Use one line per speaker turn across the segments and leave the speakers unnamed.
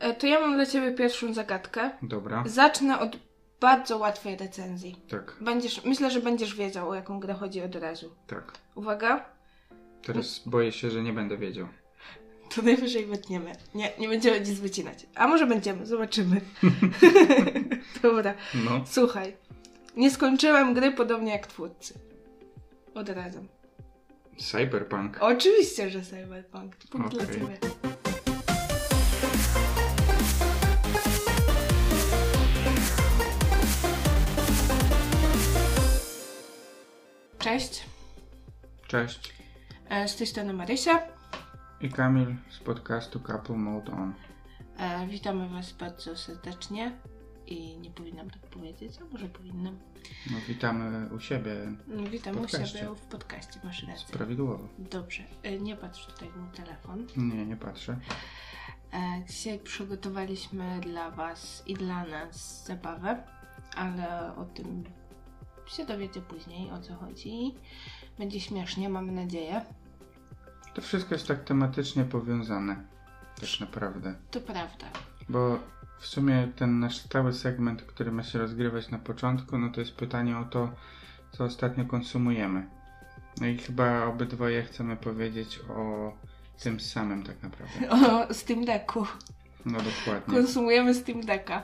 E, To ja mam dla ciebie pierwszą zagadkę.
Dobra,
Zacznę od bardzo łatwej recenzji.
tak,
Będziesz, myślę, że będziesz wiedział, o jaką grę chodzi od razu.
tak.
Uwaga,
Teraz boję się, że nie będę wiedział.
to najwyżej wytniemy. Nie, nie będziemy nic wycinać. A może będziemy, zobaczymy. Dobra,
No,
słuchaj. Nie skończyłem gry podobnie jak twórcy. Od razu.
Cyberpunk.
Oczywiście, że Cyberpunk. Punkt dla
Okej.
ciebie. Cześć,
Cześć.
e, z tej strony Marysia.
I Kamil z podcastu Couple Mode On.
E, Witamy Was bardzo serdecznie. I nie powinnam tak powiedzieć, a może powinnam.
No, witamy u siebie
No, Witam u
Podcaście.
siebie w podcaście, masz
z
rację.
prawidłowo.
Dobrze, e, nie patrz tutaj w mój telefon.
Nie, nie patrzę.
E, Dzisiaj przygotowaliśmy dla Was i dla nas zabawę, ale o tym się dowiecie później, o co chodzi. Będzie śmiesznie, mam nadzieję.
To wszystko jest tak tematycznie powiązane, tak naprawdę.
To prawda.
Bo w sumie ten nasz stały segment, który ma się rozgrywać na początku, no to jest pytanie o to, co ostatnio konsumujemy. No i chyba obydwoje chcemy powiedzieć o tym samym tak naprawdę.
O Steam Decku.
No dokładnie.
Konsumujemy Steam Decka.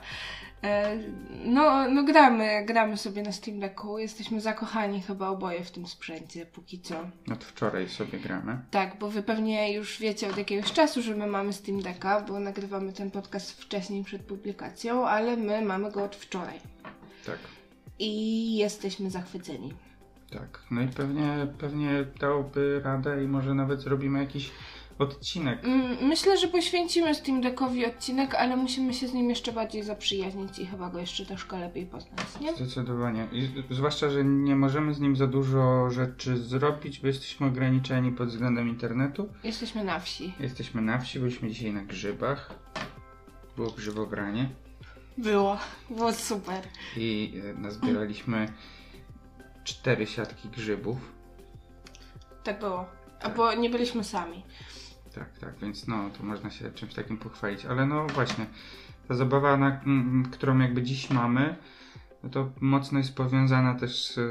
E, No, no gramy, gramy sobie na Steam Decku. Jesteśmy zakochani chyba oboje w tym sprzęcie póki co.
Od wczoraj sobie gramy.
Tak, bo wy pewnie już wiecie od jakiegoś czasu, że my mamy Steam Decka, bo nagrywamy ten podcast wcześniej przed publikacją, ale my mamy go od wczoraj
Tak,
i jesteśmy zachwyceni.
tak. No i pewnie, pewnie dałoby radę i może nawet zrobimy jakiś odcinek.
Mm, Myślę, że poświęcimy Steam Deckowi odcinek, ale musimy się z nim jeszcze bardziej zaprzyjaźnić i chyba go jeszcze troszkę lepiej poznać, nie?
Zdecydowanie. I z- zwłaszcza, że nie możemy z nim za dużo rzeczy zrobić, bo jesteśmy ograniczeni pod względem internetu.
Jesteśmy na wsi.
Jesteśmy na wsi, byliśmy dzisiaj na grzybach. Było grzybogranie
Było. Było super.
i e, nazbieraliśmy cztery siatki grzybów.
Tak było. A bo nie byliśmy sami.
Tak, tak, więc no, to można się czymś takim pochwalić. Ale no właśnie, ta zabawa, na, m, m, którą jakby dziś mamy, no to mocno jest powiązana też e,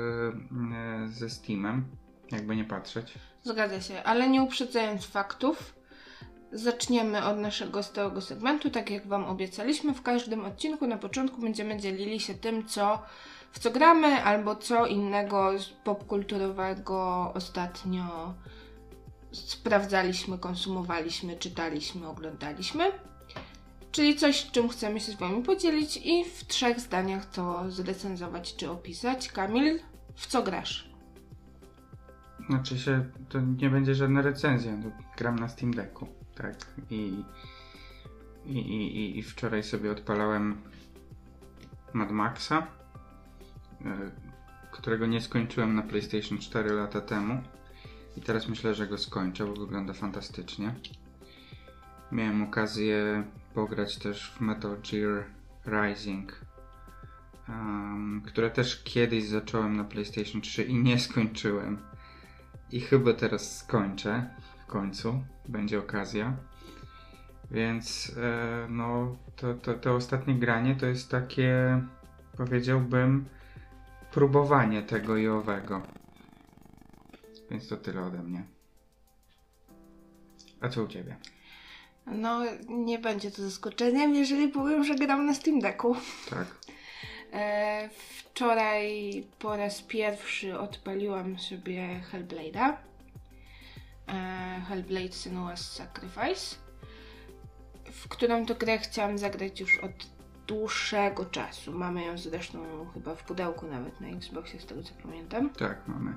e, ze Steamem, jakby nie patrzeć.
Zgadza się, ale nie uprzedzając faktów, zaczniemy od naszego stałego segmentu. Tak jak Wam obiecaliśmy, w każdym odcinku na początku będziemy dzielili się tym, co, w co gramy, albo co innego z popkulturowego ostatnio sprawdzaliśmy, konsumowaliśmy, czytaliśmy, oglądaliśmy. Czyli coś, czym chcemy się z Wami podzielić i w trzech zdaniach to zrecenzować czy opisać. Kamil, w co grasz?
Znaczy się, to nie będzie żadna recenzja, no, gram na Steam Decku, tak, i, i, i, i- i wczoraj sobie odpalałem Mad Maxa, e, którego nie skończyłem na PlayStation 4 lata temu i teraz myślę, że go skończę, bo wygląda fantastycznie. Miałem okazję pograć też w Metal Gear Rising, em, które też kiedyś zacząłem na PlayStation 3 i nie skończyłem. I chyba teraz skończę. W końcu będzie okazja. Więc e, no, to, to, to ostatnie granie to jest takie, powiedziałbym, próbowanie tego i owego. Więc to tyle ode mnie. A co u ciebie?
No, nie będzie to zaskoczeniem, jeżeli powiem, że gram na Steam Decku.
Tak.
E, wczoraj po raz pierwszy odpaliłam sobie Hellblade'a. E, Hellblade Senua's Sacrifice, w którą to grę chciałam zagrać już od dłuższego czasu. Mamy ją zresztą chyba w pudełku nawet na Xboxie, z tego co pamiętam.
Tak, mamy.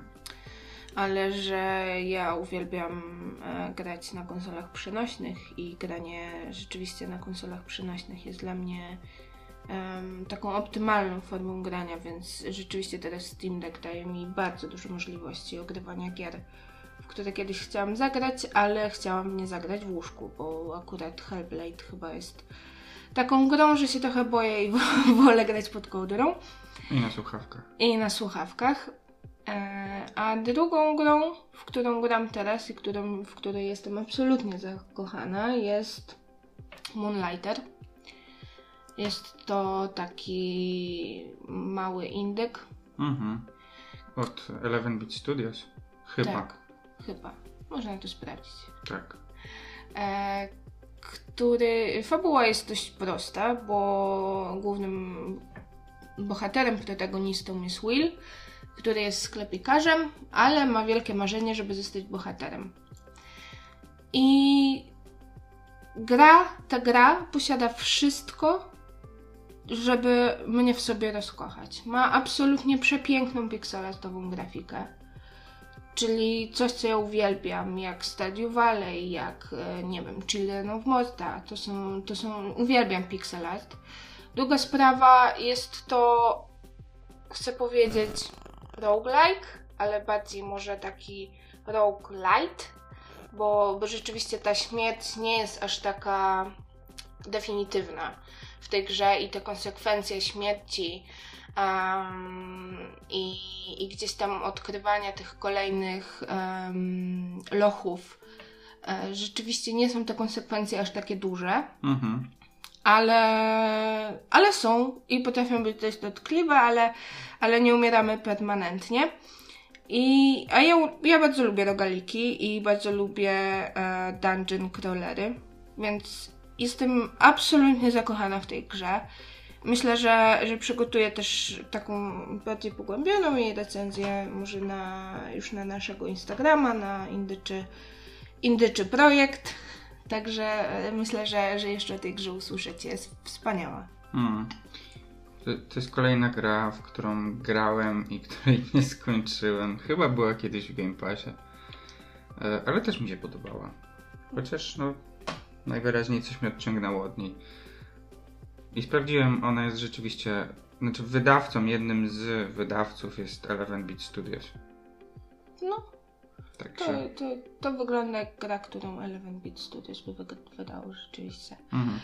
ale że ja uwielbiam e, grać na konsolach przenośnych i granie rzeczywiście na konsolach przenośnych jest dla mnie em, taką optymalną formą grania, więc rzeczywiście teraz Steam Deck daje mi bardzo dużo możliwości ogrywania gier, w które kiedyś chciałam zagrać, ale chciałam nie zagrać w łóżku, bo akurat Hellblade chyba jest taką grą, że się trochę boję i wolę grać pod kołdrą
I na słuchawkach.
i na słuchawkach. E, A drugą grą, w którą gram teraz i którą, w której jestem absolutnie zakochana, jest Moonlighter. Jest to taki mały indyk,
Mhm. Od Eleven Beat Studios? Chyba.
Tak. chyba. Można to sprawdzić.
tak.
e, który. Fabuła jest dość prosta, bo głównym bohaterem, protagonistą jest Will, który jest sklepikarzem, ale ma wielkie marzenie, żeby zostać bohaterem. I gra, ta gra posiada wszystko, żeby mnie w sobie rozkochać. Ma absolutnie przepiękną pikselatową grafikę czyli coś, co ja uwielbiam, jak Stardew Valley, jak, e, nie wiem, Children of Morta, to są, to są, uwielbiam pixel art. Druga sprawa jest to, chcę powiedzieć, roguelike, ale bardziej może taki roguelite, bo, bo rzeczywiście ta śmierć nie jest aż taka definitywna w tej grze i te konsekwencje śmierci em, i, i gdzieś tam odkrywania tych kolejnych em, lochów e, rzeczywiście nie są te konsekwencje aż takie duże,
Mhm.
ale, ale są i potrafią być dość dotkliwe, ale, ale nie umieramy permanentnie. I, a ja, u- ja bardzo lubię rogaliki i bardzo lubię e, dungeon crawlery, więc jestem absolutnie zakochana w tej grze. Myślę, że, że przygotuję też taką bardziej pogłębioną jej recenzję, może na, już na naszego Instagrama, na indyczy, indyczy projekt. Także e, myślę, że, że jeszcze o tej grze usłyszycie. Jest wspaniała.
Mm. To, to jest kolejna gra, w którą grałem i której nie skończyłem. Chyba była kiedyś w Game Passie. E, Ale też mi się podobała. Chociaż no najwyraźniej coś mnie odciągnęło od niej. I sprawdziłem, ona jest rzeczywiście. Znaczy wydawcą, jednym z wydawców jest Eleven Beat Studios. Tak
No, to,
Także.
to, to wygląda jak gra, którą Eleven Beat Studios by wyg- wydało rzeczywiście.
Mhm.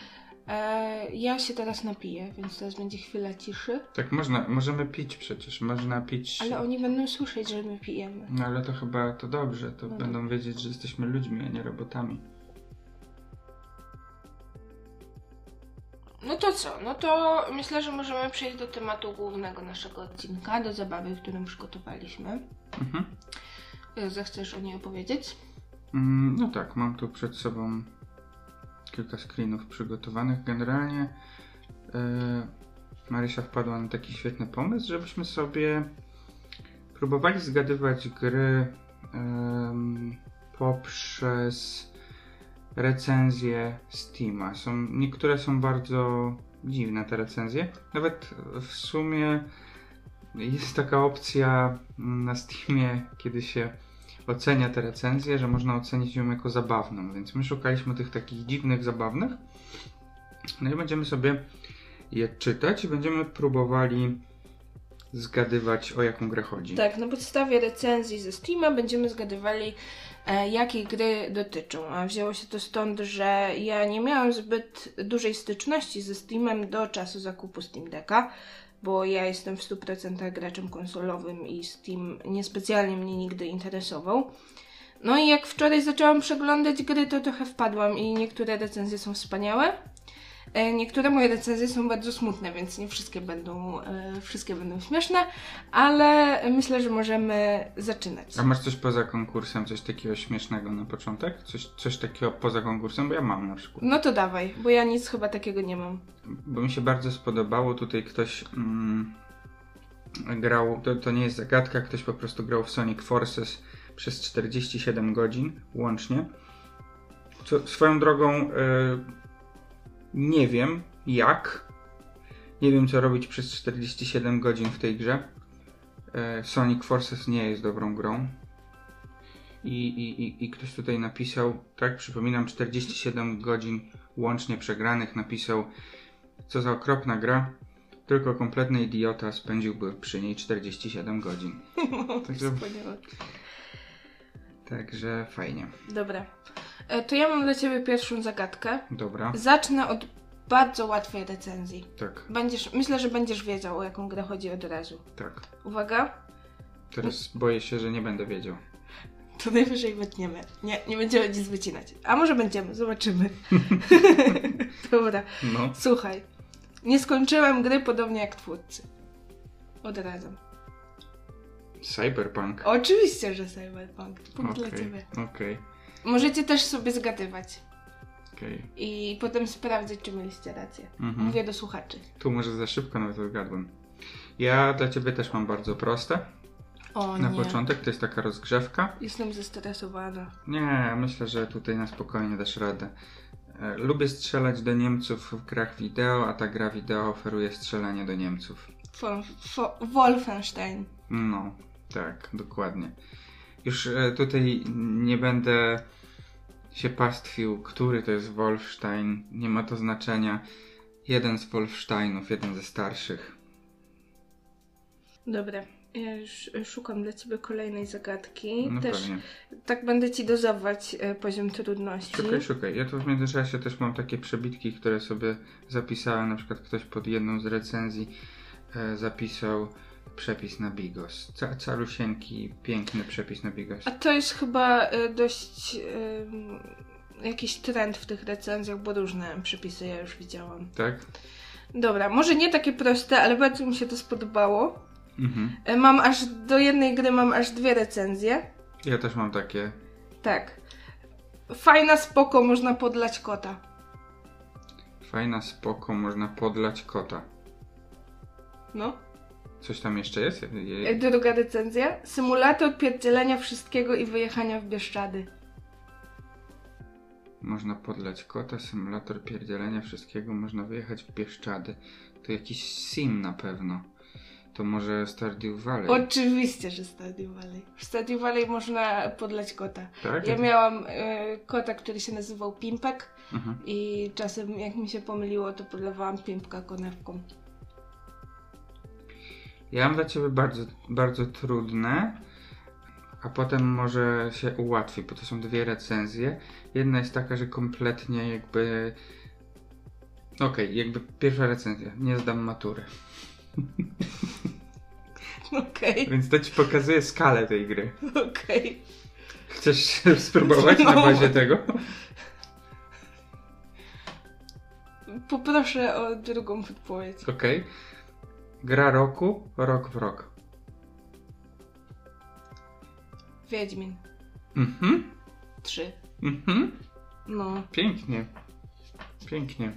E, ja się teraz napiję, więc teraz będzie chwila ciszy,
Tak można, możemy pić przecież, można pić.
ale oni będą słyszeć, że my pijemy.
No ale to chyba to dobrze, to
No tak.
będą wiedzieć, że jesteśmy ludźmi, a nie robotami.
No to co? No to myślę, że możemy przejść do tematu głównego naszego odcinka, do zabawy, którą przygotowaliśmy.
Mhm.
E, Zechcesz o niej opowiedzieć?
Mm, No tak, mam tu przed sobą kilka screenów przygotowanych. Generalnie e, Marysia wpadła na taki świetny pomysł, żebyśmy sobie próbowali zgadywać gry em, poprzez recenzje Steama. Są, niektóre są bardzo dziwne te recenzje. Nawet w sumie jest taka opcja na Steamie, kiedy się ocenia te recenzje, że można ocenić ją jako zabawną, więc my szukaliśmy tych takich dziwnych, zabawnych. No i będziemy sobie je czytać i będziemy próbowali zgadywać o jaką grę chodzi.
Tak, na podstawie recenzji ze Steama będziemy zgadywali, e, jakie gry dotyczą. A wzięło się to stąd, że ja nie miałam zbyt dużej styczności ze Steamem do czasu zakupu Steam Decka, bo ja jestem w 100% graczem konsolowym i Steam niespecjalnie mnie nigdy interesował. No i jak wczoraj zaczęłam przeglądać gry, to trochę wpadłam i niektóre recenzje są wspaniałe. E, Niektóre moje recenzje są bardzo smutne, więc nie wszystkie będą, e, wszystkie będą śmieszne, ale myślę, że możemy zaczynać.
A masz coś poza konkursem, coś takiego śmiesznego na początek? Coś, coś takiego poza konkursem, bo ja mam na przykład.
No to dawaj, bo ja nic chyba takiego nie mam.
Bo mi się bardzo spodobało, tutaj ktoś mm, grał, to, to nie jest zagadka, ktoś po prostu grał w Sonic Forces przez 47 godzin łącznie. Co, swoją drogą e, nie wiem jak, nie wiem co robić przez 47 godzin w tej grze. E, Sonic Forces nie jest dobrą grą. I, i, i, I ktoś tutaj napisał, tak przypominam, 47 godzin łącznie przegranych napisał co za okropna gra. Tylko kompletny idiota spędziłby przy niej 47 godzin. Także-
Wspaniałe.
Także fajnie.
Dobra. E, To ja mam dla ciebie pierwszą zagadkę.
Dobra,
Zacznę od bardzo łatwej recenzji.
tak,
Będziesz, myślę, że będziesz wiedział, o jaką grę chodzi od razu.
tak.
Uwaga.
Teraz boję się, że nie będę wiedział.
To najwyżej wytniemy. Nie, nie będziemy nic wycinać. A może będziemy, zobaczymy. Dobra,
No,
słuchaj. Nie skończyłem gry podobnie jak twórcy. Od razu.
cyberpunk.
Oczywiście, że Cyberpunk. Punkt
Okej,
dla ciebie.
Okej,
Możecie też sobie zgadywać
okej.
i potem sprawdzać, czy mieliście rację.
Mhm.
Mówię do słuchaczy.
Tu może za szybko nawet wygadłem. Ja dla ciebie też mam bardzo proste.
O
Na
nie.
początek to jest taka rozgrzewka.
Jestem zestresowana.
Nie, myślę, że tutaj na spokojnie dasz radę. E, Lubię strzelać do Niemców w grach wideo, a ta gra wideo oferuje strzelanie do Niemców.
Fo- fo- Wolfenstein.
No, tak, dokładnie. Już e, tutaj nie będę się pastwił, który to jest Wolfstein, nie ma to znaczenia. Jeden z Wolfsteinów, jeden ze starszych.
Dobra. Ja już e, szukam dla ciebie kolejnej zagadki.
No
też
pewnie.
tak będę ci dozować e, poziom trudności.
Szukaj, szukaj. Ja tu w międzyczasie też mam takie przebitki, które sobie zapisałem. Na przykład ktoś pod jedną z recenzji e, zapisał przepis na bigos. Ca calusieńki, piękny przepis na bigos.
A to jest chyba e, dość em, jakiś trend w tych recenzjach, bo różne przepisy ja już widziałam.
Tak?
Dobra, może nie takie proste, ale bardzo mi się to spodobało.
Mhm.
E, Mam aż do jednej gry mam aż dwie recenzje.
Ja też mam takie.
Tak. Fajna spoko, można podlać kota.
Fajna, spoko, można podlać kota.
No.
Coś tam jeszcze jest? Je-
E,
je-
Druga recenzja. Symulator pierdzielenia wszystkiego i wyjechania w Bieszczady.
Można podlać kota, symulator pierdzielenia wszystkiego, można wyjechać w Bieszczady. To jakiś sim na pewno. To może Stardew Valley,
Oczywiście, że Stadio Valley. W Stadio Valley można podlać kota.
tak?
Ja miałam e, kota, który się nazywał Pimpek.
Mhm.
I czasem jak mi się pomyliło, to podlewałam pimpka konewką.
Ja mam dla ciebie bardzo, bardzo trudne, a potem może się ułatwi, bo to są dwie recenzje. Jedna jest taka, że kompletnie jakby. Okej, jakby pierwsza recenzja, nie zdam matury.
Okej,
Więc to ci pokazuje skalę tej gry.
okej.
Chcesz się spróbować na
No.
bazie tego?
Poproszę o drugą podpowiedź.
Okej. Gra roku, rok w rok.
Wiedźmin
Mhm,
3.
mhm.
No.
Pięknie. Pięknie.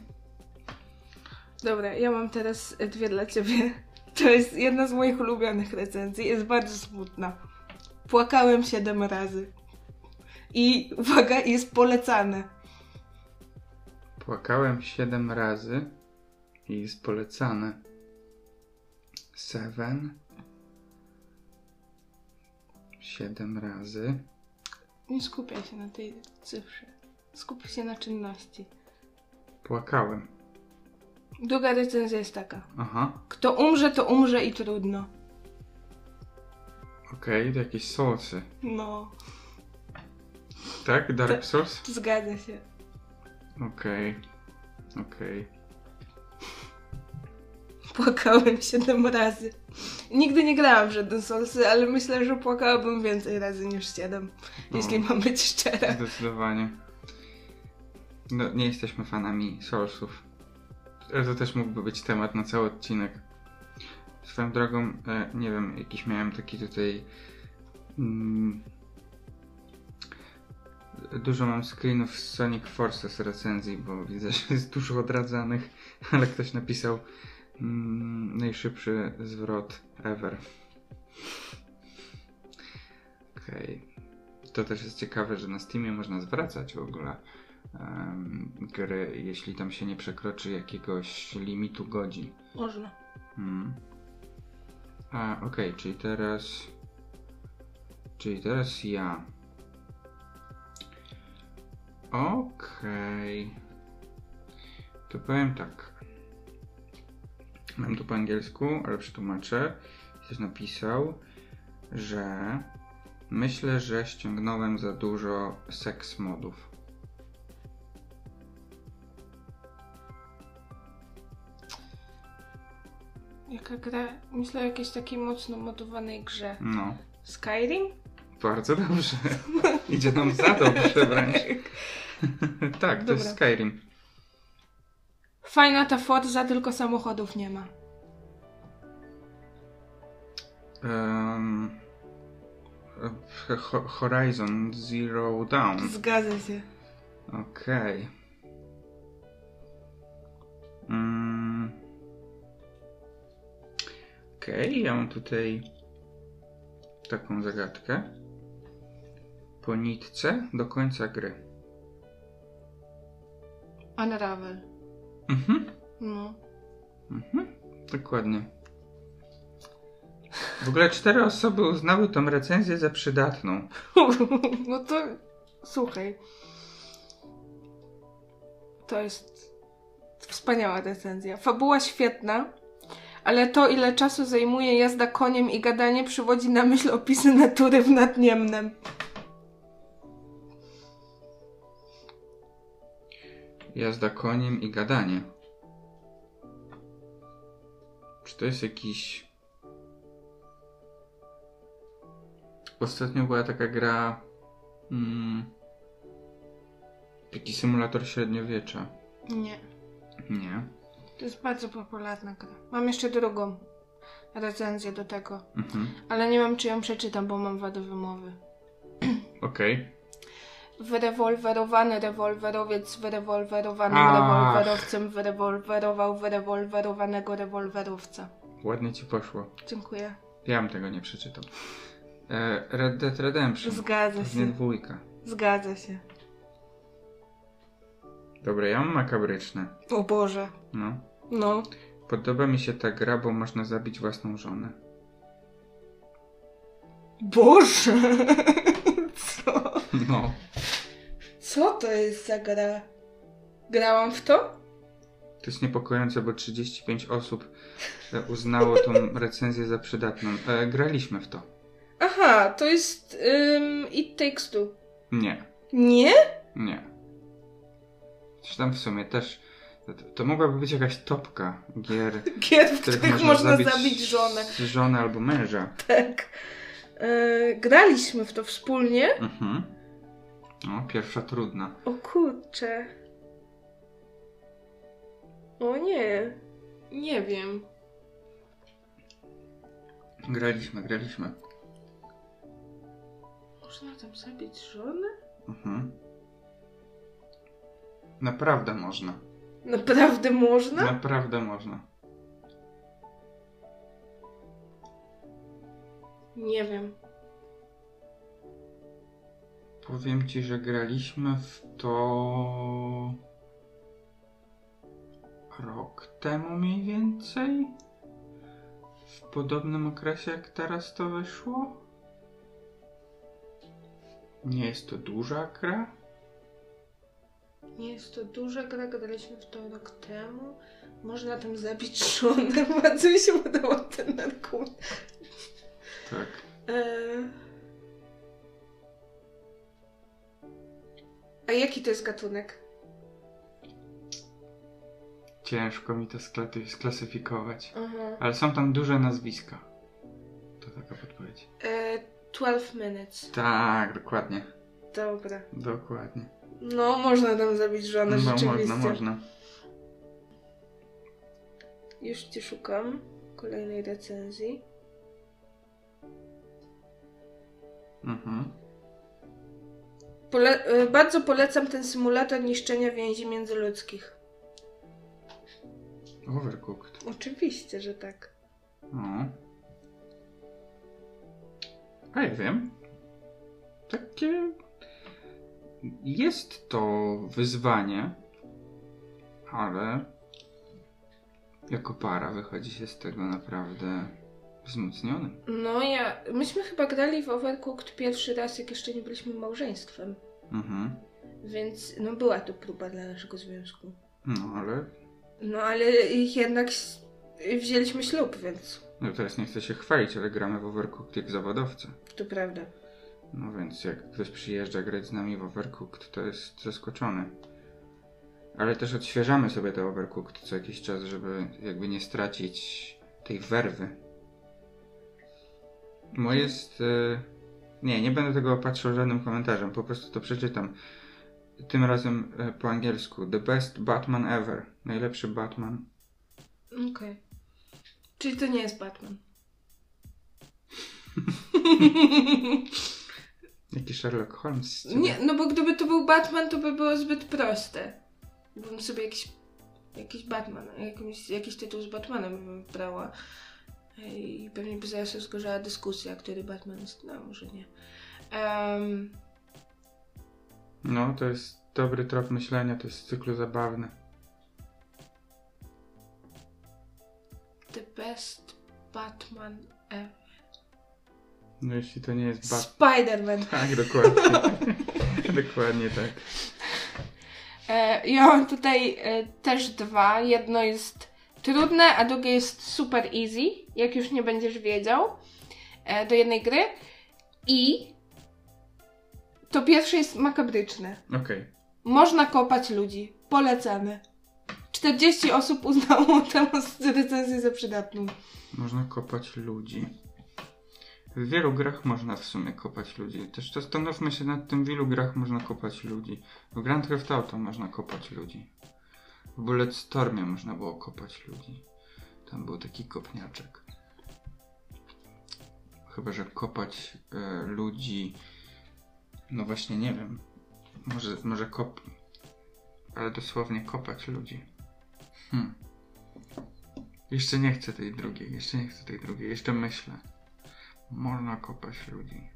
Dobra, ja mam teraz dwie dla ciebie. To jest jedna z moich ulubionych recenzji. Jest bardzo smutna. Płakałem 7 razy. I uwaga, jest polecane.
Płakałem 7 razy i jest polecane. Seven. 7 razy.
Nie skupiaj się na tej cyfrze. Skup się na czynności.
Płakałem.
Druga recenzja jest taka.
Aha,
Kto umrze, to umrze i trudno.
okej, to jakieś sołcy.
No.
Tak? Dark
Tak.
Souls?
Zgadza się.
Okej, okej.
Płakałem 7 razy. Nigdy nie grałam w żaden Soulsy, ale myślę, że płakałabym więcej razy niż 7,
No,
jeśli mam być szczera.
Zdecydowanie. No, nie jesteśmy fanami Soulsów. Ale to też mógłby być temat na cały odcinek. Swoją drogą, e, nie wiem, jakiś miałem taki tutaj. Mm, dużo mam screenów z Sonic Forces recenzji, bo widzę, że jest dużo odradzanych, ale ktoś napisał mm, najszybszy zwrot ever. Okej. To też jest ciekawe, że na Steamie można zwracać w ogóle em, gry, jeśli tam się nie przekroczy jakiegoś limitu godzin.
Można.
Mm. A, okej, czyli teraz... Czyli teraz ja. Okej. To powiem tak. Mam tu po angielsku, ale przetłumaczę. Ktoś napisał, że myślę, że ściągnąłem za dużo seks modów.
Jaka gra? Myślę o jakiejś takiej mocno modowanej grze.
No,
Skyrim?
Bardzo dobrze. Idzie nam za dobrze wręcz. tak, to jest
Dobra.
Skyrim.
Fajna ta Forza, tylko samochodów nie ma.
Em, e, Ho- Horizon Zero Dawn.
Zgadza się.
Okej. Mm. Okej, ja mam tutaj taką zagadkę. Po nitce do końca gry.
Unravel.
Mhm,
No.
mhm, dokładnie. W ogóle cztery osoby uznały tą recenzję za przydatną.
No to słuchaj. To jest wspaniała recenzja. Fabuła świetna, ale to ile czasu zajmuje jazda koniem i gadanie przywodzi na myśl opisy natury w Nadniemnem.
Jazda koniem i gadanie. Czy to jest jakiś. Ostatnio była taka gra. Mm, taki symulator średniowiecza.
Nie.
Nie.
To jest bardzo popularna gra. Mam jeszcze drugą recenzję do tego,
Mhm.
ale nie wiem czy ją przeczytam, bo mam wadę wymowy.
Okej.
Wyrewolwerowany rewolwerowiec wyrewolwerowanym
Ach.
rewolwerowcem wyrewolwerował wyrewolwerowanego rewolwerowca.
Ładnie ci poszło.
Dziękuję.
Ja bym tego nie przeczytał. E, Red Dead Redemption.
Zgadza
Pewnie
się.
dwójka.
Zgadza się.
Dobra, ja mam makabryczne.
O Boże.
No.
No.
Podoba mi się ta gra, bo można zabić własną żonę.
Boże! Co?
No.
Co to jest za gra? Grałam w to?
To jest niepokojące, bo 35 osób e, uznało tą recenzję za przydatną. E, graliśmy w to.
Aha, to jest ym, It Takes Two.
Nie,
Nie?
nie. Czy tam w sumie też. To, to mogłaby być jakaś topka gier, w
Gier, w
których
których Tak można, zabić... żonę.
Żonę albo męża.
Tak. Yy, graliśmy w to wspólnie.
Mhm. No, pierwsza trudna.
O kurcze. O nie. Nie wiem.
Graliśmy, graliśmy.
Można tam zabić żonę?
Mhm. Naprawdę można.
Naprawdę można?
Naprawdę można.
Nie wiem.
Powiem ci, że graliśmy w to. rok temu mniej więcej? W podobnym okresie jak teraz to wyszło? Nie jest to duża gra?
Nie jest to duża gra, gadaliśmy w to rok temu. Można tam zabić żonę. Bardzo mi się podobał ten argument.
Tak.
Eee. A jaki to jest gatunek?
Ciężko mi to sklaty- sklasyfikować.
Aha.
Ale są tam duże nazwiska. To taka podpowiedź.
E, 12 minutes.
Tak, dokładnie.
Dobra.
Dokładnie.
No, można tam zabić żonę,
No,
rzeczywiście.
można, można.
Już ci szukam kolejnej recenzji.
Mhm.
Pole- e, bardzo polecam ten symulator niszczenia więzi międzyludzkich.
Overcooked.
Oczywiście, że tak.
No. A ja wiem. Takie. Jest to wyzwanie, ale jako para wychodzi się z tego naprawdę wzmocnionym.
No ja... Myśmy chyba grali w Overcooked pierwszy raz, jak jeszcze nie byliśmy małżeństwem.
Mhm.
Więc no była to próba dla naszego związku.
No ale
No ale jednak s- wzięliśmy ślub, więc
no teraz nie chcę się chwalić, ale gramy w Overcooked jak zawodowcy.
to prawda.
No więc jak ktoś przyjeżdża grać z nami w Overcooked, to jest zaskoczony. Ale też odświeżamy sobie te Overcooked co jakiś czas, żeby jakby nie stracić tej werwy. Moje jest e, Nie, nie będę tego patrzył żadnym komentarzem, po prostu to przeczytam. Tym razem e, po angielsku. The best Batman ever. Najlepszy Batman.
Okej. Czyli to nie jest Batman.
Jaki Sherlock Holmes. z ciebie.
nie, no bo gdyby to był Batman, to by było zbyt proste. Bym sobie jakiś, jakiś Batman, jakiś, jakiś tytuł z Batmanem bym wybrała. I pewnie by zaraz rozgorzała dyskusja, który Batman jest. No, może nie. Em,
No, to jest dobry trop myślenia, to jest z cyklu zabawny.
the best Batman ever.
No jeśli to nie jest Batman.
Spider-Man.
Tak, dokładnie. dokładnie tak.
E, Ja mam tutaj e, też dwa. Jedno jest trudne, a drugie jest super easy, jak już nie będziesz wiedział, e, do jednej gry. I to pierwsze jest makabryczne.
Okej.
Można kopać ludzi. Polecamy. 40 osób uznało tę recenzję za przydatną.
Można kopać ludzi. W wielu grach można w sumie kopać ludzi. Też zastanówmy się nad tym, w ilu grach można kopać ludzi. W Grand Theft Auto można kopać ludzi. W Bulletstormie można było kopać ludzi. Tam był taki kopniaczek. Chyba, że kopać e, ludzi... No właśnie, nie wiem. Może, może kop... Ale dosłownie kopać ludzi. Hmm. Jeszcze nie chcę tej drugiej, jeszcze nie chcę tej drugiej, jeszcze myślę. Można kopać ludzi.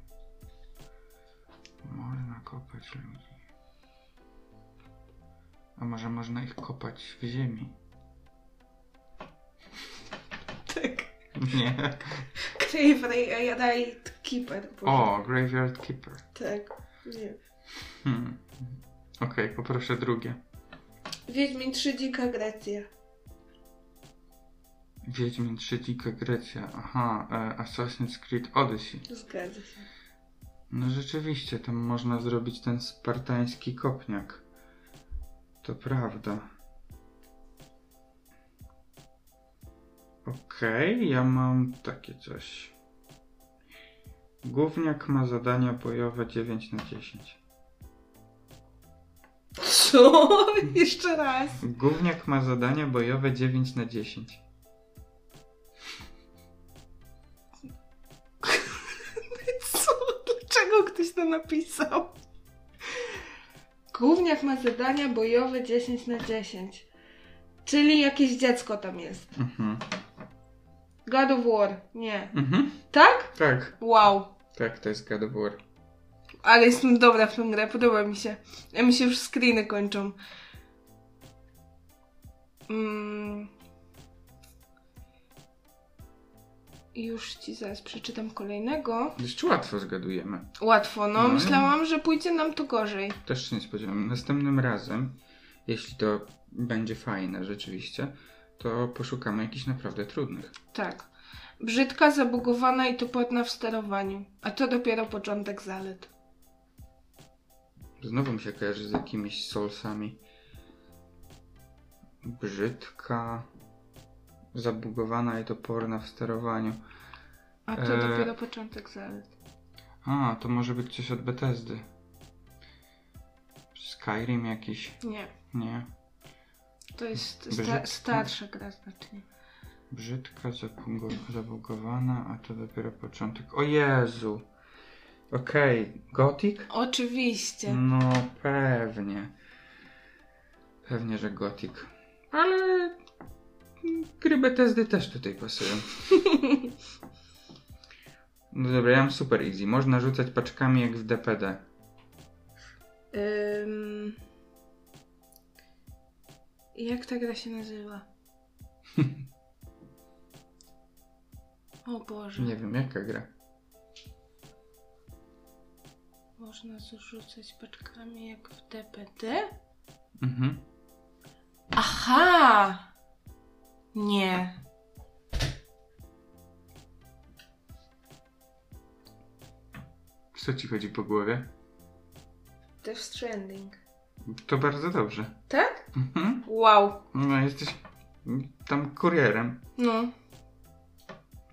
Można kopać ludzi. A może można ich kopać w ziemi?
Tak.
Nie.
Crave Raid Keeper.
O, Graveyard Keeper.
Tak. Nie.
Hmm. Okej, poproszę drugie.
Wiedźmin 3 Dzika Grecja.
Wiedźmin 3 Dzika Grecja. Aha, e, Assassin's Creed Odyssey.
Zgadza się.
No rzeczywiście, tam można zrobić ten spartański kopniak. To prawda. Okej, ja mam takie coś. Gówniak ma zadania bojowe 9 na 10.
Co? Jeszcze raz.
Gówniak ma zadania bojowe 9 na 10.
Co? Dlaczego ktoś to napisał? Gówniak ma zadania bojowe 10 na 10. Czyli jakieś dziecko tam jest.
Mhm.
God of War. Nie.
Mhm.
Tak?
Tak,
Wow.
tak, to jest God of War.
Ale jestem dobra w tę grę, podoba mi się. Ja mi się już screeny kończą. Mm. Już ci zaraz przeczytam kolejnego.
Dość łatwo zgadujemy.
Łatwo, no.
No.
Myślałam, że pójdzie nam to gorzej.
Też się nie spodziewałem. Następnym razem, jeśli to będzie fajne rzeczywiście, to poszukamy jakichś naprawdę trudnych.
Tak. Brzydka, zabugowana i toporna w sterowaniu. A to dopiero początek zalet.
Znowu mi się kojarzy z jakimiś solsami. Brzydka, zabugowana i toporna w sterowaniu.
A to
Eee.
dopiero początek zalet.
A, to może być coś od Bethesdy. Skyrim jakiś,
Nie,
nie.
to jest sta-
Brzydka.
starsza gra znacznie.
Brzydka, zabugo- zabugowana, a to dopiero początek. O Jezu! Okej, Gothic?
Oczywiście.
No pewnie. Pewnie, że Gothic. Ale gry Bethesdy też tutaj pasują. No dobra, ja mam super easy. Można rzucać paczkami jak w DPD.
Ym... Jak ta gra się nazywa? o Boże,
Nie wiem, jaka gra.
można zrzucać paczkami jak w DPD?
Mhm.
Aha! Nie.
Co ci chodzi po głowie?
Death Stranding.
To bardzo dobrze.
Tak?
Mhm.
Wow.
No jesteś tam kurierem,
No. E,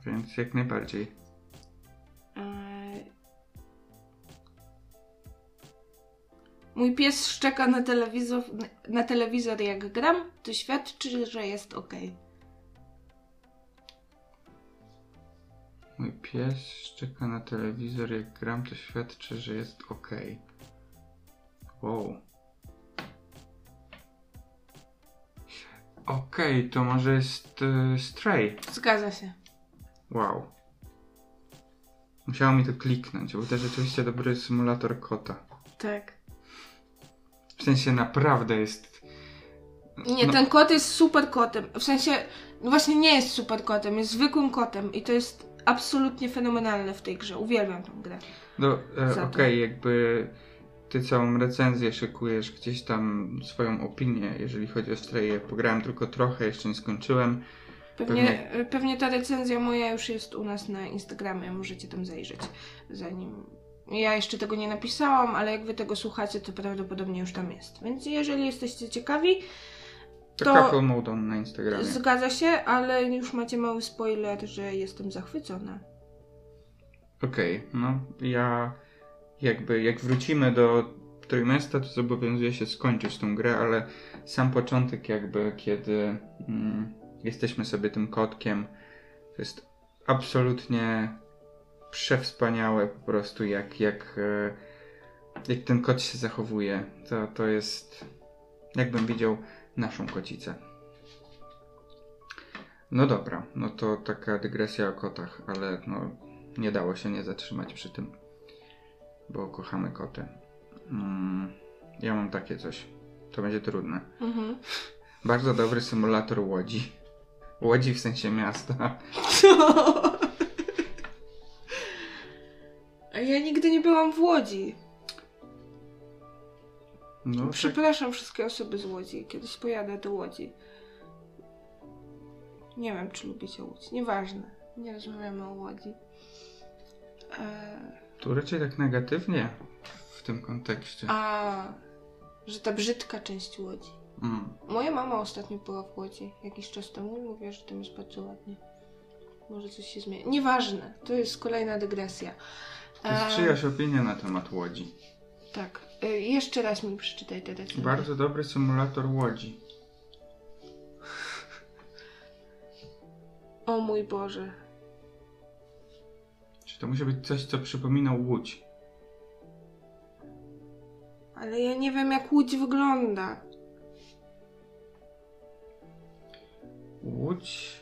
więc jak najbardziej.
Eee, Mój pies szczeka na telewizor, na telewizor jak gram, to świadczy, że jest ok.
Mój pies szczeka na telewizor, jak gram, to świadczy, że jest ok. Wow. Okej, to może jest e, Stray.
Zgadza się.
Wow. Musiało mi to kliknąć, bo to rzeczywiście dobry symulator kota.
Tak.
W sensie naprawdę jest...
Nie,
no,
ten kot jest super kotem. W sensie, no właśnie nie jest super kotem, jest zwykłym kotem i to jest absolutnie fenomenalne w tej grze. Uwielbiam tę grę.
no, e,
za
Okej,
to.
jakby ty całą recenzję szykujesz, gdzieś tam swoją opinię, jeżeli chodzi o Stray'e. Pograłem tylko trochę, jeszcze nie skończyłem.
Pewnie, pewnie ta recenzja moja już jest u nas na Instagramie, możecie tam zajrzeć. Zanim. Ja jeszcze tego nie napisałam, ale jak wy tego słuchacie, to prawdopodobnie już tam jest. Więc jeżeli jesteście ciekawi,
To,
To-
to... Kakao Moudon na Instagramie.
zgadza się, ale już macie mały spoiler, że jestem zachwycona.
Okej, no ja jakby jak wrócimy do trójmiasta, to zobowiązuję się skończyć tą grę, ale sam początek jakby, kiedy mm, jesteśmy sobie tym kotkiem, to jest absolutnie przewspaniałe po prostu, jak, jak, e, jak ten kot się zachowuje. To, to jest jakbym widział naszą kocicę. No dobra, no to taka dygresja o kotach, ale no nie dało się nie zatrzymać przy tym, bo kochamy koty. Mm, ja mam takie coś. To będzie trudne.
Mhm.
Bardzo dobry symulator łodzi. Łodzi w sensie miasta.
A ja nigdy nie byłam w Łodzi.
No, tak,
Przepraszam wszystkie osoby z Łodzi. Kiedyś pojadę do Łodzi. Nie wiem, czy lubicie Łódź. Nieważne. Nie rozmawiamy o Łodzi. Eee,
tu raczej tak negatywnie w tym kontekście.
a, że ta brzydka część Łodzi.
Mm.
Moja mama ostatnio była w Łodzi jakiś czas temu i mówiła, że tam jest bardzo ładnie. Może coś się zmieni. Nieważne. To jest kolejna dygresja.
To jest
Eee,
czyjaś opinia na temat łodzi.
Tak. Y, Jeszcze raz mi przeczytaj te recenzje.
Bardzo dobry symulator łodzi.
O mój Boże.
Czy to musi być coś, co przypomina łódź?
Ale ja nie wiem, jak Łódź wygląda.
Łódź.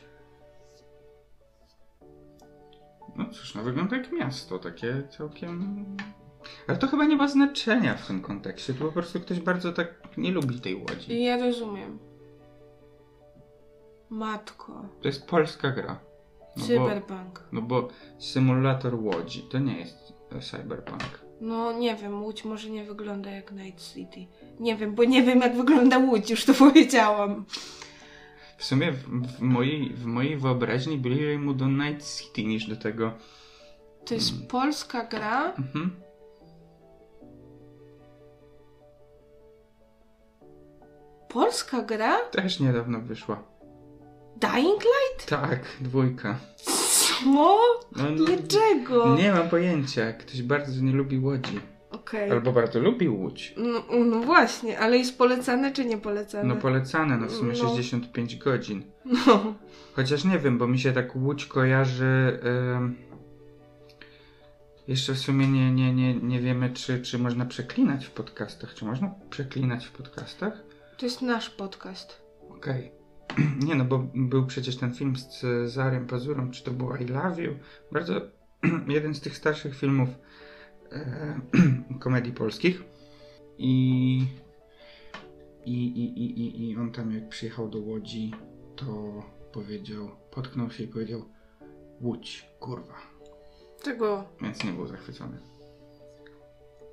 No cóż, no wygląda jak miasto, takie całkiem. Ale to chyba nie ma znaczenia w tym kontekście. To po prostu ktoś bardzo tak nie lubi tej łodzi.
Ja rozumiem. Matko.
To jest polska gra. No bo,
Cyberpunk.
no bo symulator łodzi to nie jest e, cyberpunk.
No nie wiem, Łódź może nie wygląda jak Night City. Nie wiem, bo nie wiem jak wygląda Łódź, już to powiedziałam.
W sumie w, w, mojej, w mojej wyobraźni bliżej mu do Night City niż do tego.
To jest
Mm.
polska gra.
Mhm.
Polska gra?
Też niedawno wyszła.
Dying Light?
Tak, dwójka.
Co?
No, n-
Dlaczego?
nie mam pojęcia. Ktoś bardzo nie lubi łodzi.
Okej.
Albo bardzo lubi Łódź.
No, no właśnie, ale jest polecane czy nie polecane?
No polecane, no w sumie
No.
65 godzin.
no.
Chociaż nie wiem, bo mi się tak Łódź kojarzy... em, jeszcze w sumie nie, nie, nie, nie wiemy, czy, czy można przeklinać w podcastach. Czy można przeklinać w podcastach?
To jest nasz podcast.
Okej. Nie no, bo był przecież ten film z Cezarem Pazurą, czy to było I Love You? Bardzo jeden z tych starszych filmów e, komedii polskich. I, i, i, i, i, I on tam jak przyjechał do Łodzi, to powiedział, potknął się i powiedział Łódź, kurwa.
Tego
Więc nie był zachwycony.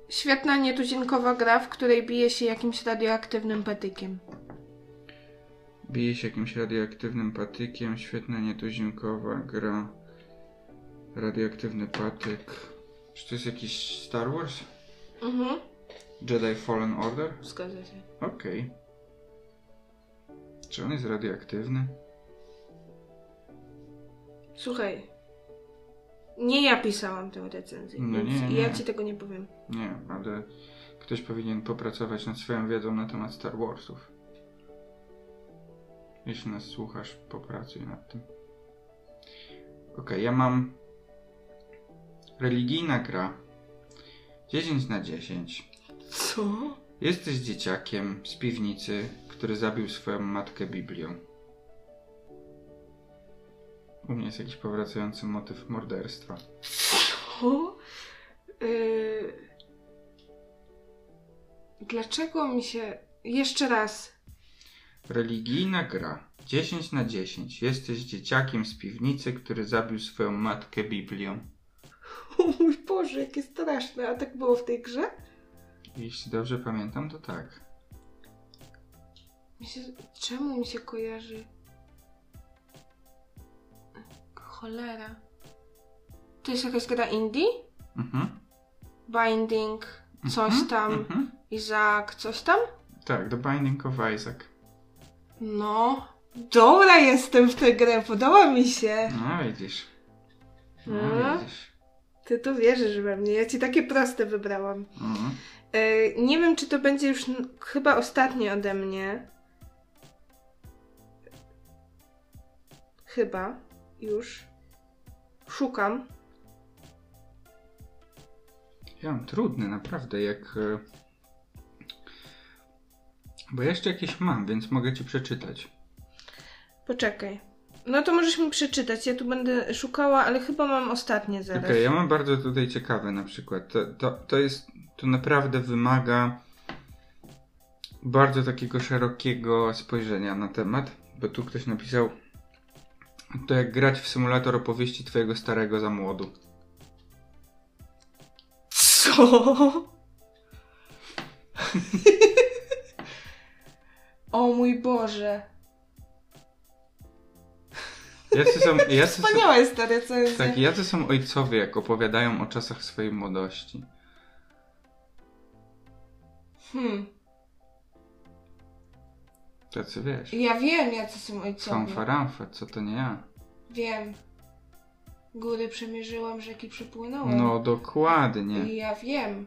Świetna nietuzinkowa gra, w której bije się jakimś radioaktywnym patykiem.
Bije się jakimś radioaktywnym patykiem, świetna nietuzinkowa gra. Radioaktywny patyk. Czy to jest jakiś Star Wars?
Mhm.
Jedi Fallen Order?
Zgadza się.
Okej. Czy on jest radioaktywny?
Słuchaj. Nie ja pisałam tę recenzję,
No
więc
nie, nie.
ja ci tego nie powiem.
Nie, ale Ktoś powinien popracować nad swoją wiedzą na temat Star Warsów. Jeśli nas słuchasz, popracuj nad tym. Okej, ja mam religijna gra 10 na 10.
Co?
Jesteś dzieciakiem z piwnicy, który zabił swoją matkę Biblią. U mnie jest jakiś powracający motyw morderstwa.
Co? Yy... Dlaczego mi się... Jeszcze raz.
Religijna gra. 10 na 10. Jesteś dzieciakiem z piwnicy, który zabił swoją matkę Biblią.
O mój Boże, jakie straszne. A tak było w tej grze?
Jeśli dobrze pamiętam, to tak.
Mi się... Czemu mi się kojarzy? Cholera. To jest jakaś gra indie?
Mhm.
Binding, coś
Mhm,
tam,
Mhm.
Izak, coś tam?
Tak, The Binding of Isaac.
No, dobra jestem w tę grę, podoba mi się.
No widzisz. No
Mhm.
widzisz.
Ty tu wierzysz we mnie, ja ci takie proste wybrałam.
Mhm.
E, nie wiem, czy to będzie już n- chyba ostatnie ode mnie. Chyba, już. Szukam.
Ja mam trudne, naprawdę, jak... e, Bo jeszcze jakieś mam, więc mogę ci przeczytać.
Poczekaj. No to możesz mi przeczytać, ja tu będę szukała, ale chyba mam ostatnie
Okej,
zaraz.
ja mam bardzo tutaj ciekawe na przykład. To, to, to jest... To naprawdę wymaga bardzo takiego szerokiego spojrzenia na temat, bo tu ktoś napisał to jak grać w symulator opowieści twojego starego za młodu.
Co? o mój Boże.
Jacy są, jacy są,
Wspaniała jest ta recenzja.
tak, jacy są ojcowie, jak opowiadają o czasach swojej młodości?
Hmm.
Tacy wiesz.
Ja wiem, jacy są ojcowie.
Fanfa ramfa, co to nie ja?
Wiem. Góry przemierzyłam, rzeki przepłynąłem.
No dokładnie.
I ja wiem.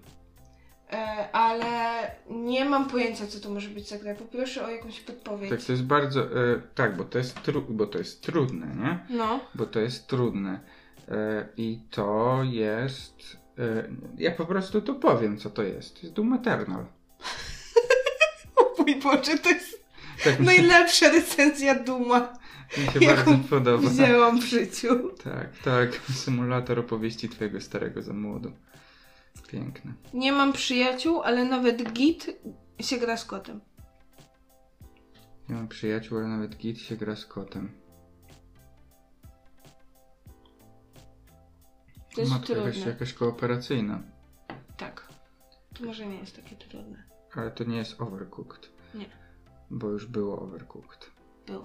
E, ale nie mam pojęcia, co to może być za gra. Poproszę o jakąś podpowiedź.
Tak, to jest bardzo. E, tak, bo to jest, tru, bo to jest trudne, nie?
No.
Bo to jest trudne. E, I to jest. E, ja po prostu to powiem, co to jest. To jest Doom Eternal.
O mój Boże, to jest
Tak
No
mi,
najlepsza recenzja Duma,
mi się
jaką
bardzo podoba.
widziałam w życiu.
Tak, tak. Symulator opowieści twojego starego za młodu. Piękne.
Nie mam przyjaciół, ale nawet git się gra z kotem.
Nie mam przyjaciół, ale nawet git się gra z kotem.
To jest
Matka
trudne.
jakaś, jakaś kooperacyjna.
Tak. To może nie jest takie trudne.
Ale to nie jest Overcooked.
Nie.
Bo już było Overcooked.
Było.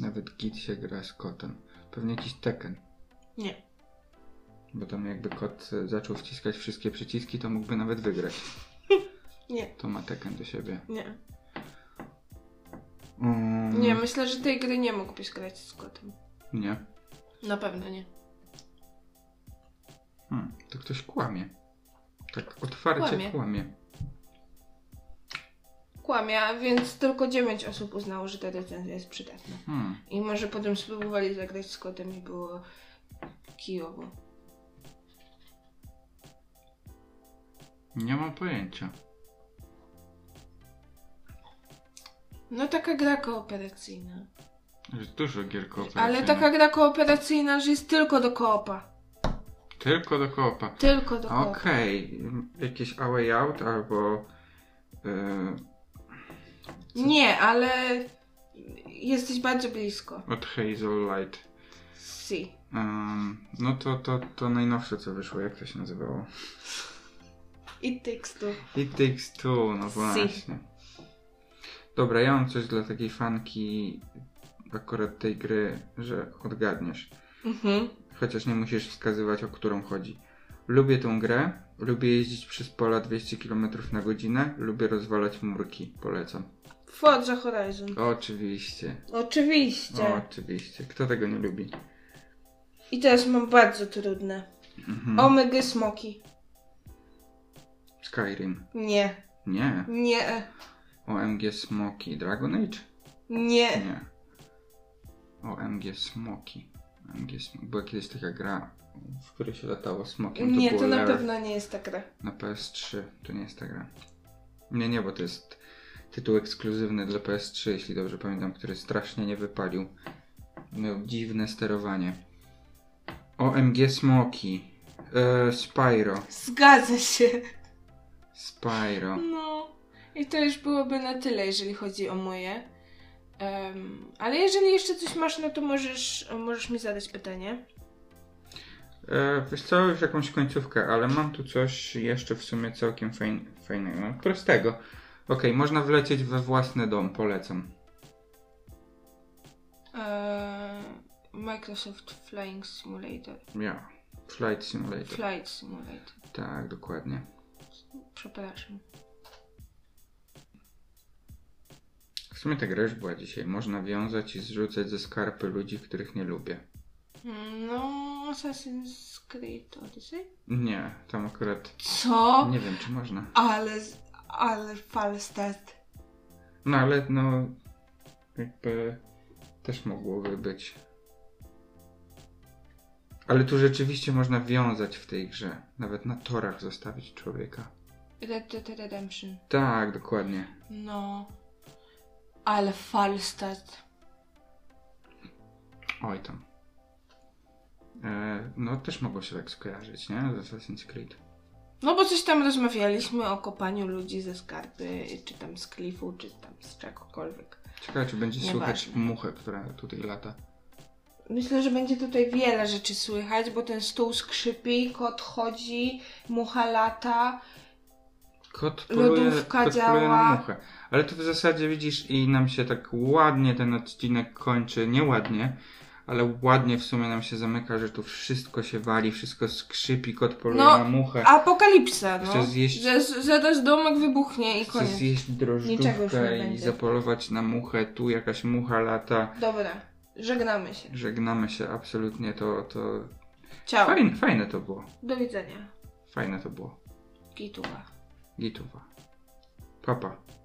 Nawet git się gra z kotem. Pewnie jakiś Tekken.
Nie.
Bo tam jakby kot e, zaczął wciskać wszystkie przyciski, to mógłby nawet wygrać.
Nie.
To ma Tekken do siebie.
Nie.
Mm,
Nie, myślę, że tej gry nie mógłbyś grać z kotem.
Nie.
Na pewno nie.
Hmm, to ktoś kłamie. Tak otwarcie kłamie.
Kłamie. Kłamia, więc tylko 9 osób uznało, że ta recenzja jest przydatna.
Hmm.
I może potem spróbowali zagrać z kotem i było kijowo.
Nie mam pojęcia.
No taka gra kooperacyjna.
Jest dużo gier kooperacyjnych.
Ale taka gra kooperacyjna, że jest tylko do koopa.
Tylko do koopa.
Tylko do koopa.
Okej, jakieś A Way Out albo e,
Nie, ale jesteś bardzo blisko.
od Hazel Light.
Si.
Em, no to, to, to najnowsze co wyszło, jak to się nazywało?
I tekstu.
It Takes Two, no
Si.
właśnie. Dobra, ja mam coś dla takiej fanki akurat tej gry, że odgadniesz.
Mhm.
Chociaż nie musisz wskazywać, o którą chodzi. Lubię tą grę, lubię jeździć przez pola 200 km na godzinę, lubię rozwalać murki, polecam.
Forza Horizon.
Oczywiście,
Oczywiście.
oczywiście. Kto tego nie lubi?
I teraz mam bardzo trudne.
Mhm.
Omega Smoki.
Skyrim.
Nie,
Nie.
nie,
OMG Smoki. Dragon Age?
nie.
Nie. OMG Smoki. OMG Smoki. Była kiedyś taka gra, w której się latało smokiem.
Nie,
było
No to na
Lair
pewno nie jest ta gra.
Na PS3. To nie jest ta gra. Nie, nie, bo to jest tytuł ekskluzywny dla PS3, jeśli dobrze pamiętam, który strasznie nie wypalił. Miał dziwne sterowanie. OMG Smoki. E, Spyro.
Zgadza się.
Spyro.
No. I to już byłoby na tyle, jeżeli chodzi o moje. Em, ale jeżeli jeszcze coś masz, no to możesz, możesz mi zadać pytanie.
E, wiesz co, już jakąś końcówkę, ale mam tu coś jeszcze w sumie całkiem fajn, fajnego, No, prostego. Okej, można wlecieć we własny dom, polecam.
Eee, Microsoft Flying Simulator.
Ja. Flight Simulator.
Flight Simulator.
tak, dokładnie.
Przepraszam.
W sumie ta gra już była dzisiaj. Można wiązać i zrzucać ze skarpy ludzi, których nie lubię.
No, Assassin's Creed Odyssey?
Nie, tam akurat
Co?
nie wiem, czy można.
Ale, ale falstet.
No ale no, jakby też mogłoby być. Ale tu rzeczywiście można wiązać w tej grze. Nawet na torach zostawić człowieka.
Red Dead Redemption.
Tak, dokładnie.
No. Ale falstet.
Oj tam. E, no też mogło się tak skojarzyć, nie? Z Assassin's Creed.
No bo coś tam rozmawialiśmy o kopaniu ludzi ze skarpy, czy tam z klifu, czy tam z czegokolwiek.
Ciekawe, czy będzie słychać
Nieważne.
muchę, która tutaj lata.
Myślę, że będzie tutaj wiele rzeczy słychać, bo ten stół skrzypi, kot chodzi, mucha lata.
Kot poluje,
Lodówka
kot poluje na
działa.
muchę. Ale to w zasadzie widzisz i nam się tak ładnie ten odcinek kończy. Nieładnie, ale ładnie w sumie nam się zamyka, że tu wszystko się wali, wszystko skrzypi, kot poluje
No,
na muchę.
Apokalipsa, no.
Chce Tak. zjeść-
Że z- zaraz domek wybuchnie i
Chce
koniec.
zjeść
Niczego już nie
drożdżówkę i
będzie.
zapolować na muchę. Tu jakaś mucha lata.
Dobra, żegnamy się.
Żegnamy się absolutnie, to, to
Ciao.
Fajne, fajne to było.
Do widzenia.
Fajne to było.
Kituła.
Gituwa. Papa.